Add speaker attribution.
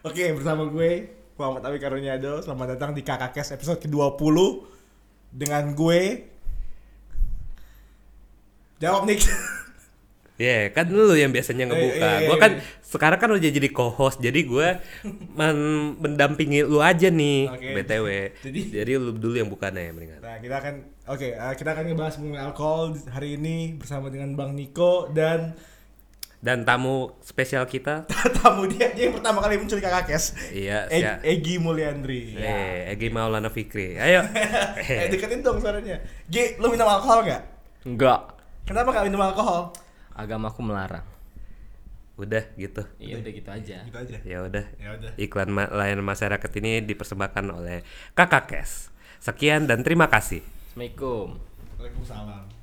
Speaker 1: Oke, bersama gue Muhammad Awi Karunyado. Selamat datang di Kakak Kes episode ke-20 dengan gue Jawab Nick.
Speaker 2: Ya, kan lu yang biasanya
Speaker 1: Eh,
Speaker 2: ngebuka.
Speaker 1: eh, eh,
Speaker 2: gua kan
Speaker 1: eh.
Speaker 2: sekarang kan udah jadi co-host, jadi gua men- mendampingi lu aja nih,
Speaker 1: Oke.
Speaker 2: BTW. Jadi,
Speaker 1: Jadi-
Speaker 2: lu dulu yang bukannya ya, mendingan.
Speaker 1: nah, kita akan oke, eh, kita akan ngebahas mengenai alkohol hari ini bersama dengan Bang Niko dan
Speaker 2: Dan tamu spesial kita,
Speaker 1: tamu dia, dia yang pertama kali muncul di Kakak Kes.
Speaker 2: iya,
Speaker 1: E-
Speaker 2: siap.
Speaker 1: Egi Mulyandri.
Speaker 2: Eh, Egi Maulana Fikri. Ayo.
Speaker 1: Eh, deketin dong suaranya. G, lu minum alkohol nggak?
Speaker 3: Enggak.
Speaker 1: Kenapa nggak minum alkohol?
Speaker 3: Agamaku melarang.
Speaker 2: udah gitu.
Speaker 3: Iya udah gitu aja.
Speaker 1: Gitu aja.
Speaker 2: Ya udah.
Speaker 1: Ya udah.
Speaker 2: Iklan ma- layanan masyarakat ini dipersembahkan oleh Kakak Kes. Sekian dan terima kasih.
Speaker 3: Assalamualaikum.
Speaker 1: Waalaikumsalam.